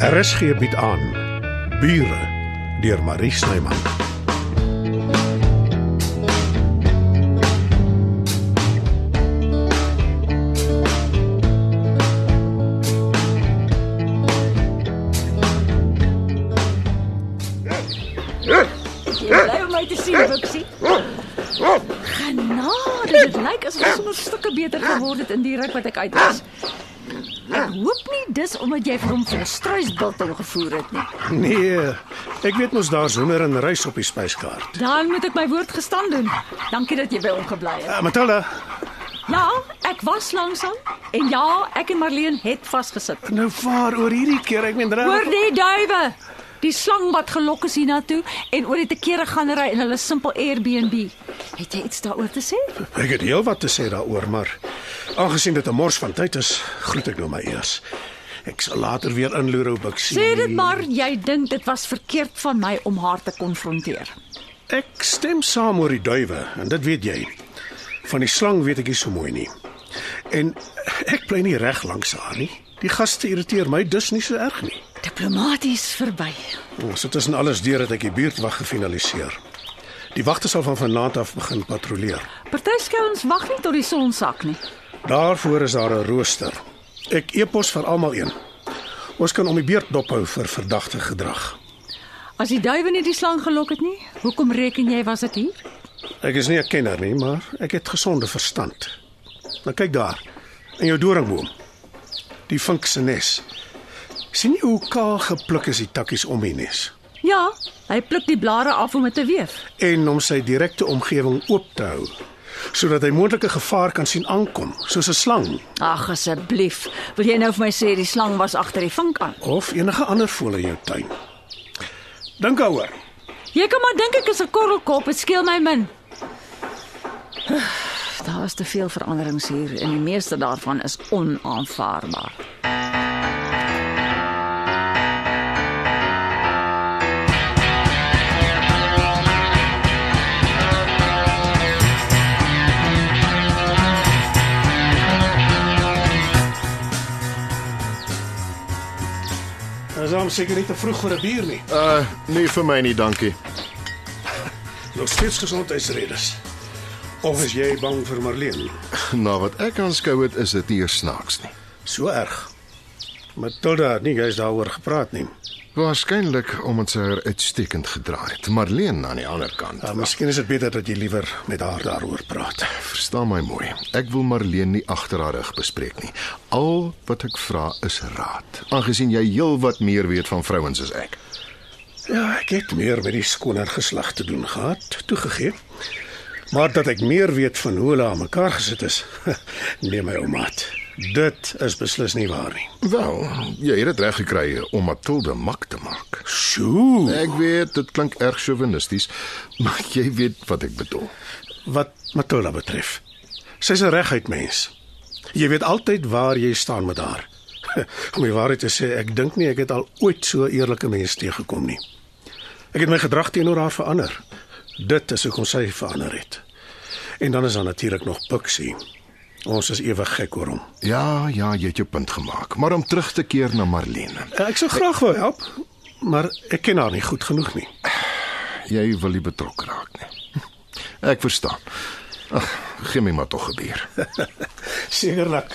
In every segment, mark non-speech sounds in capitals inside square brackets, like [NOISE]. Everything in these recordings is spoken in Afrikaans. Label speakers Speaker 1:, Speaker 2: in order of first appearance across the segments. Speaker 1: RSG bied aan Bure deur Marie Snyman.
Speaker 2: Bly om my te sien, Wixie. Genade, dit lyk asof ons sommer stukke beter geword het in die ruk wat ek uit was. Ek hoop nie dis omdat jy vir hom vir 'n struisbiltong gevoer het nie.
Speaker 1: Nee, ek weet mos daar's hoender en rys op die spyskaart.
Speaker 2: Dan moet ek my woord gestaan doen. Dankie dat jy by hom gebly het.
Speaker 1: Uh, Matilda,
Speaker 2: Ja, ek was langsam en ja, ek en Marleen het vasgesit.
Speaker 1: nou vaar oor hierdie keer, ek meen
Speaker 2: Hoor
Speaker 1: reg.
Speaker 2: die duwe. Die slang wat gelok is hiernatoe en oor die tekere gaan ry en hulle simpel Airbnb. Het jy iets daaroor te sê?
Speaker 1: Ek het heelwat te sê daaroor, maar aangesien dit 'n mors van tyd is, groet ek nou maar eers. Ek sal later weer inloer op Bixie.
Speaker 2: Sê dit maar jy dink dit was verkeerd van my om haar te konfronteer.
Speaker 1: Ek stem saam oor die duwe en dit weet jy. Van die slang weet ek nie so mooi nie. En ek bly nie reg langs haar nie. Die gaste irriteer my dus nie so erg nie.
Speaker 2: Diplomaties verby.
Speaker 1: Ons het tussen alles deur dat ek die buurtwag gefinaliseer. Die wagte sal van vanaand af begin patrolleer.
Speaker 2: Party skouens wag nie tot die son sak nie.
Speaker 1: Daarvoor is daar 'n rooster. Ek e-pos vir almal een. Ons kan om die beurt dophou vir verdagte gedrag.
Speaker 2: As die duwe nie die slang gelok het nie, hoekom reken jy was dit hier?
Speaker 1: Ek is nie 'n kenner nie, maar ek het gesonde verstand. Nou kyk daar in jou doringboom. Die vink se nes. sien jy hoe kaal gepluk is die takkies om die nes
Speaker 2: Ja, hy pluk die blare af om dit te weef.
Speaker 1: en om sy direkte omgewing oop te hou sodat hy moontlike gevaar kan sien aankom, soos 'n slang
Speaker 2: Ag asseblief, wil jy nou vir my sê die slang was agter die vink aan?
Speaker 1: of enige ander voël in jou tuin. Dink daaroor.
Speaker 2: Jy kan maar dink ek is 'n korrelkop, dit skeel my min. Daar was te veel veranderings hier en die meeste daarvan is onaanvaarbaar.
Speaker 1: Dis hom seker nie te vroeg vir 'n bier nie.
Speaker 3: Uh nee vir my nie, dankie. [LAUGHS]
Speaker 1: Nog steeds gesondheidsredes. Of is jy bang vir Marlene?
Speaker 3: Na wat ek aanskou het, is dit nie eers snaaks nie.
Speaker 1: So erg. Matilda het nie juist daaroor gepraat nie.
Speaker 3: Waarskynlik omdat sy haar uitstekend gedra het. Marleen aan die ander kant.
Speaker 1: Maar Ah, miskien is dit beter dat jy liewer met haar daaroor praat.
Speaker 3: Verstaan my mooi. Ek wil Marleen nie agter haar rug bespreek nie. Al wat ek vra is raad. Aangesien jy heelwat meer weet van vrouens as ek.
Speaker 1: Ja, ek het meer met die skoner geslag te doen gehad, toegegee. Maar dat ek meer weet van hoe hulle aan mekaar gesit is, [LAUGHS] nee my oumaat. Dit is beslis nie waar nie.
Speaker 3: Wel, jy het dit reg gekry om Matilda mak te maak.
Speaker 1: Sjoe,
Speaker 3: Ek weet dit klink erg chauvinisties, [LAUGHS] maar jy weet wat ek bedoel.
Speaker 1: wat Matilda betref. Sy's 'n reguit mens. Jy weet altyd waar jy staan met haar. [LAUGHS] Om die waarheid te sê, ek dink nie ek het al ooit so 'n eerlike mens teëgekom nie. Ek het my gedrag teenoor haar verander. Dit is hoekom sy verander het. En dan is daar natuurlik nog Pixie. Ons is ewig gek oor hom.
Speaker 3: Ja, ja, jy het jou punt gemaak, maar om terug te keer na Marlene.
Speaker 1: Ek sou graag wou help, maar ek ken haar nie goed genoeg nie.
Speaker 3: Jy wil nie betrokke raak nie. [LAUGHS] Ek verstaan. Ag, gee my maar tog 'n bier.
Speaker 1: Sekerlik.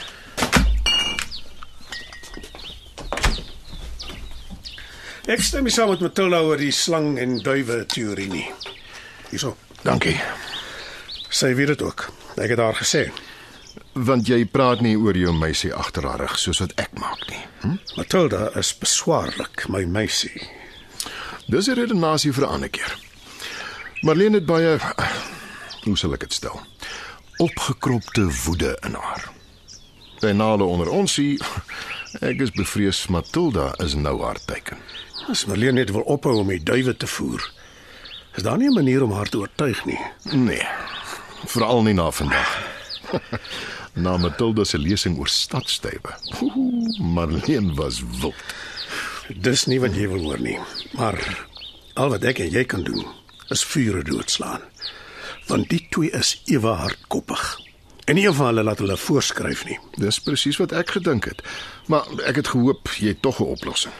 Speaker 1: Ek stem nie saam met Matilda oor die slang en duwe teorie nie. Hierso.
Speaker 3: Dankie.
Speaker 1: Sy weet dit ook. Ek het haar gesê.
Speaker 3: Want jy praat nie oor jou meisie agter haar rug soos wat ek maak nie. Hm?
Speaker 1: Matilda is beswaarlik, my meisie.
Speaker 3: Dis 'n redenasie vir 'n ander keer. Marlene het baie [CLEARS THROAT] hoe sal ek dit stel? Opgekropte woede in haar. Benale onder ons sien [CLEARS THROAT] ek is bevrees Matilda is nou haar teken.
Speaker 1: As Marlene net wil ophou om die duwe te voer, is daar nie 'n manier om haar te oortuig nie.
Speaker 3: Nee. Veral nie na vandag. [LAUGHS] na Matilda se lesing oor stadstywe. Ooh, Marleen was wild.
Speaker 1: Dis nie wat jy wil hoor nie. Maar al wat ek en jy kan doen is vure doodslaan. Want die twee is ewe hardkoppig. En nie een van hulle laat hulle voorskryf nie.
Speaker 3: Dis presies wat ek gedink het. Maar ek het gehoop jy het tog 'n oplossing.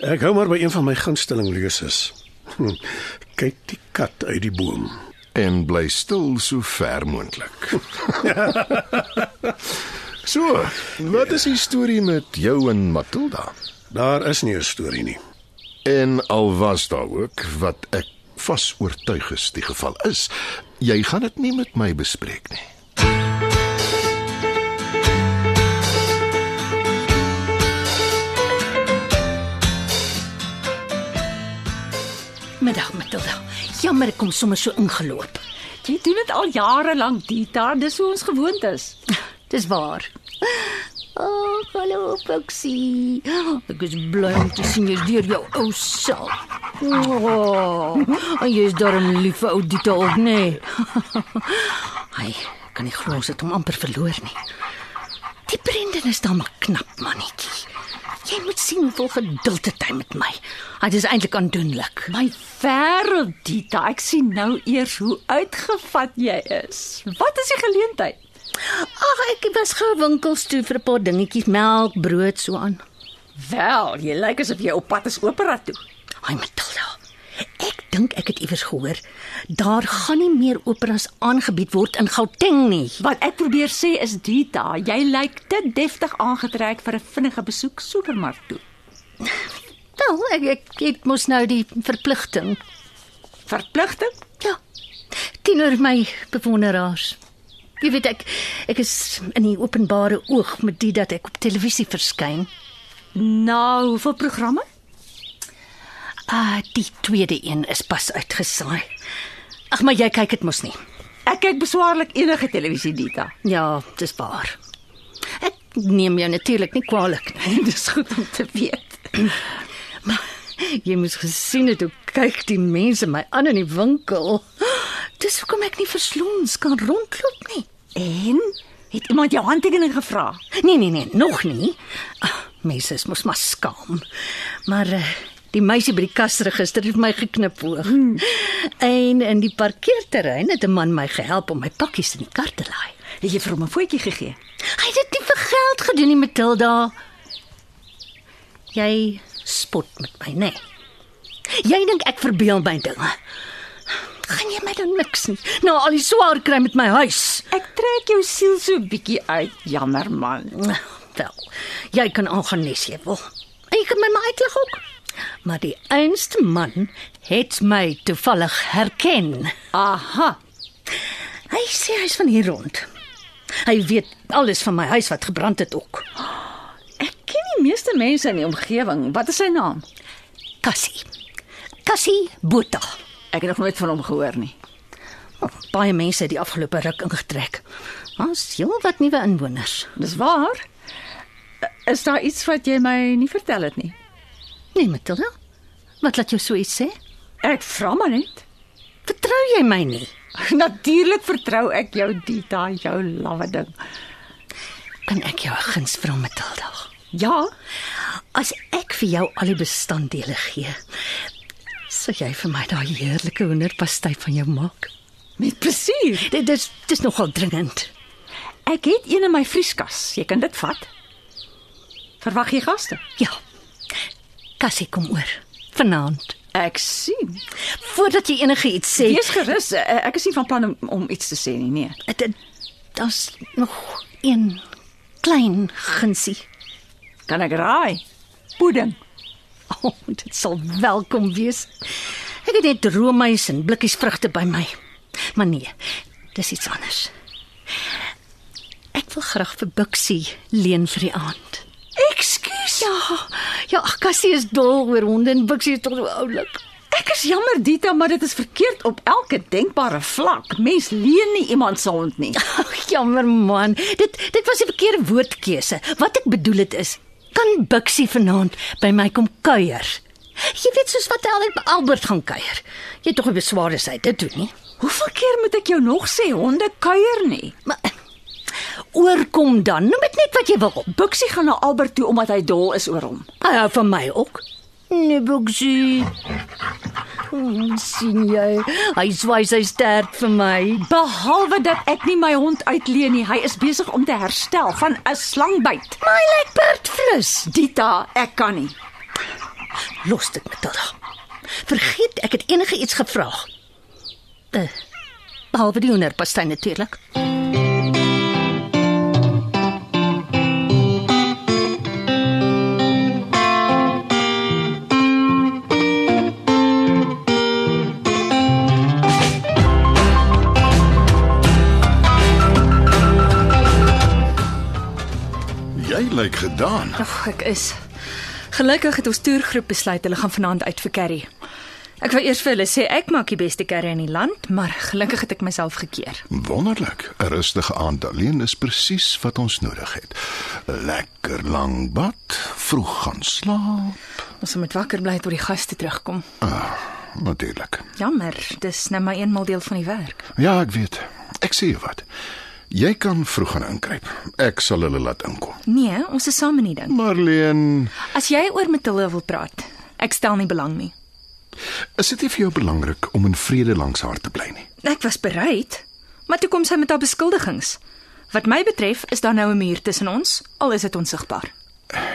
Speaker 1: Ek hou maar by een van my gunsteling leuses. Hm, Kyk die kat uit die boom.
Speaker 3: en bly stil so ver moontlik. [LAUGHS] so, wat is die storie met jou en Matilda?
Speaker 1: Daar is nie 'n storie nie.
Speaker 3: En al was daar ook wat ek vas oortuig is die geval is, jy gaan dit nie met my bespreek nie.
Speaker 4: Middag Matilda. Jammer ek kom sommer so ingeloop.
Speaker 2: Jy doen dit al jare lank, Dita, dis hoe ons gewoond is.
Speaker 4: Dis waar. Ag, hallo Foxie. Ek is bly om te sien jy's weer jou ou self. Oh, en jy's darem lief vir ou Dita ook, nee. Hy kan nie glo ons het hom amper verloor nie. Die Brendan is dan maar knap mannetjie. Jy moet sien hoeveel geduld het hy met my. Hy is eintlik aandoenlik.
Speaker 2: My wêreld, Dita, ek sien nou eers hoe uitgevat jy is. Wat is die geleentheid?
Speaker 4: Ag, ek was gou winkels toe vir 'n paar dingetjies, melk, brood so aan.
Speaker 2: Wel, jy lyk asof jy op pad is opera toe.
Speaker 4: Ai Matilda. Ek dink ek het iewers gehoor daar gaan nie meer operas aangebied word in Gauteng nie.
Speaker 2: Wat ek probeer sê is Dita, jy lyk te deftig aangetrek vir 'n vinnige besoek supermark toe.
Speaker 4: Wel, ek ek het mos nou die verpligting.
Speaker 2: Verpligting?
Speaker 4: Ja. Teenoor my bewonderaars. Jy weet ek ek is in die openbare oog met dit dat ek op televisie verskyn.
Speaker 2: Nou, hoeveel programme?
Speaker 4: Ah, die tweede een is pas uitgesaai. Ag, maar jy kyk dit mos nie.
Speaker 2: Ek kyk beswaarlik enige televisie, Dita.
Speaker 4: Ja, dis waar. Ek neem jou natuurlik nie kwaadlik nie. [LAUGHS]
Speaker 2: Dis goed om te
Speaker 4: [CLEARS THROAT]
Speaker 2: weet.
Speaker 4: Jy moes gesien het hoe kyk die mense my aan in die winkel. [GASPS] Dis hoekom ek nie versloons kan rondloop nie.
Speaker 2: En het iemand jou handtekening gevra?
Speaker 4: Nee nee nee, nog nie. Ag, mense is mos maar skaam. Maar eh, die meisie by die kasregister het my geknip hoog. Hmm. [LAUGHS] En in die parkeerterrein het 'n man my gehelp om my pakkies in die kar te laai.
Speaker 2: Het jy vir hom 'n voetjie gegee?
Speaker 4: Hy het dit nie vir geld gedoen nie, Matilda. Jy spot met my, né? Nee. Jy dink ek verbeel my dinge. Gaan jy my dan niks nie? Nou al die swaar kry met my huis.
Speaker 2: Ek trek jou siel so bietjie uit, jammer man.
Speaker 4: Wel, jy kan aangaan nes jy wil. En jy kan my maar uitlig ook. Maar die einste man het my toevallig herken.
Speaker 2: Aha,
Speaker 4: Hy sê hy's van hier rond. Hy weet alles van my huis wat gebrand het ook.
Speaker 2: ek ken die meeste mense in die omgewing. Wat is sy naam?
Speaker 4: Cassie. Cassie Botha.
Speaker 2: Ek het nog nooit van hom gehoor nie.
Speaker 4: Oh, baie mense het die afgelope ruk ingetrek. Ons heelwat nuwe inwoners.
Speaker 2: Dis waar. Is daar iets wat jy my nie vertel het nie?
Speaker 4: Nee, Matilda. Wat laat jou so iets sê?
Speaker 2: Ek vra maar net. [LAUGHS]
Speaker 4: Vertrou jy my nie?
Speaker 2: Natuurlik vertrou ek jou Dita, jou lawwe ding.
Speaker 4: Kan ek jou 'n guns vra, Matilda?
Speaker 2: Ja,
Speaker 4: As ek vir jou al die bestanddele gee, sal jy vir my daai heerlike hoenderpastei van jou maak?
Speaker 2: met plesier.
Speaker 4: Dit dis dis nogal dringend.
Speaker 2: Ek het een in my vrieskas. Jy kan dit vat. Verwag jy gaste?
Speaker 4: Ja. Cassie kom oor vanaand.
Speaker 2: Ek sien.
Speaker 4: Voordat jy enigiets sê,
Speaker 2: Wees gerus, eh, ek is nie van plan om, om iets te sê nie, nee.
Speaker 4: Dit- dit- daar's nog een klein gunsie.
Speaker 2: Kan ek raai? Pudding.
Speaker 4: O, [LAUGHS] oh, dit sal welkom wees. Ek het net roomys en blikkies vrugte by my. Maar nee, dis iets anders. Ek wil graag vir Bixie leen vir die aand.
Speaker 2: Ekskuus.
Speaker 4: Ja, ja, ag Cassie is dol oor honde en Bixie is tog so oulik.
Speaker 2: Ek is jammer Dita, maar dit is verkeerd op elke denkbare vlak. Mens leen nie iemand se hond nie.
Speaker 4: Ag jammer man, dit dit was die verkeerde woordkeuse. Wat ek bedoel het is, kan Bixie vanaand by my kom kuier? Jy weet soos wat hy altyd by Albert gaan kuier. Jy het tog 'n beswaar as hy dit doen nie?
Speaker 2: Hoeveel keer moet ek jou nog sê honde kuier nie?
Speaker 4: Maar eh, oorkom dan, noem dit net wat jy wil.
Speaker 2: Buxie gaan na Albert toe omdat hy dol is oor hom.
Speaker 4: Hy hou van my ook. Nee, Buxie. Hmm, sien jy, hy swai sy sterk vir my.
Speaker 2: Behalwe dat ek nie my hond uitleen nie, hy is besig om te herstel van 'n slangbyt.
Speaker 4: My like Bertflus.
Speaker 2: Dita, ek kan nie.
Speaker 4: Los dit, Matilda. Vergeet ek het enige iets gevra. Eh, Behalwe die hoenderpastei natuurlik.
Speaker 3: Jy lyk gedaan.
Speaker 2: Ag, ek is. Gelukkig het ons toergroep besluit hulle gaan vanaand uit vir curry. Ek wou eers vir hulle sê ek maak die beste curry in die land, maar gelukkig het ek myself gekeer.
Speaker 3: Wonderlik. 'n Rustige aand alleen is presies wat ons nodig het. 'n Lekker lang bad, vroeg gaan slaap.
Speaker 2: Ons moet wakker bly tot die gaste terugkom.
Speaker 3: Ah, natuurlik.
Speaker 2: Jammer, dis nou maar eenmal deel van die werk.
Speaker 3: Ja, ek weet. Ek sê jou wat. Jy kan vroeg gaan inkruip. Ek sal hulle laat inkom.
Speaker 2: Nee, ons is saam in die ding.
Speaker 3: Marleen,
Speaker 2: As jy oor Matilda wil praat, ek stel nie belang nie.
Speaker 3: is dit nie vir jou belangrik om in vrede langs haar te bly nie?
Speaker 2: Ek was bereid, maar toe kom sy met haar beskuldigings. Wat my betref, is daar nou 'n muur tussen ons, al is dit onsigbaar.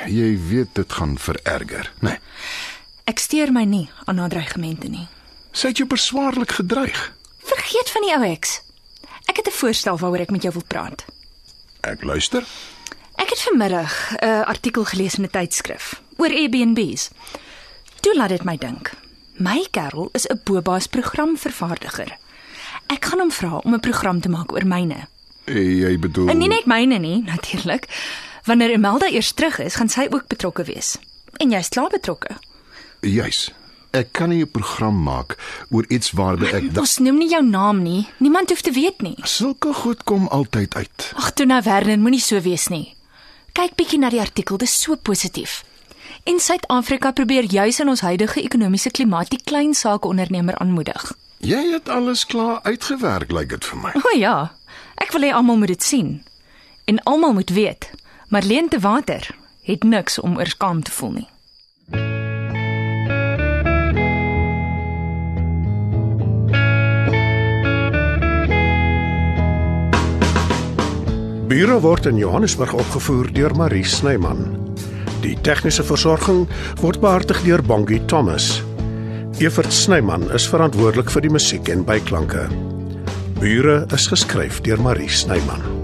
Speaker 3: Jy weet dit gaan vererger, né? Nee.
Speaker 2: Ek steur my nie aan haar dreigemente nie.
Speaker 3: Sy het jou beswaarlik gedreig.
Speaker 2: Vergeet van die ou heks. Ek het 'n voorstel waaroor ek met jou wil praat.
Speaker 3: Ek luister.
Speaker 2: Ek het vanmiddag 'n artikel gelees in 'n tydskrif oor Airbnbs. Toe laat dit my dink. My kerel is 'n Boba's programvervaardiger. Ek gaan hom vra om 'n program te maak oor myne.
Speaker 3: Jy bedoel
Speaker 2: En nie net myne nie, natuurlik. Wanneer Imelda eers terug is, gaan sy ook betrokke wees. En jy's klaar betrokke.
Speaker 3: Juis. Ek kan nie 'n program maak oor iets waarby ek
Speaker 2: Ons noem nie jou naam nie. Niemand hoef te weet nie.
Speaker 3: Sulke goed kom altyd uit.
Speaker 2: Ag, toe nou Werner, moenie so wees nie. Kyk bietjie na die artikel, dis so positief. En Suid-Afrika probeer juis in ons huidige ekonomiese klimaat die klein sakeondernemer aanmoedig.
Speaker 3: Jy het alles klaar uitgewerk, lyk dit vir my.
Speaker 2: O ja, ek wil hê almal moet dit sien. En almal moet weet, Marlene te Water het niks om oor skaam te voel nie.
Speaker 1: Bure word in Johannesburg opgevoer deur Marie Snyman. Die tegniese versorging word behartig deur Bongie Thomas. Evert Snyman is verantwoordelik vir die musiek en byklanke. Bure is geskryf deur Marie Snyman.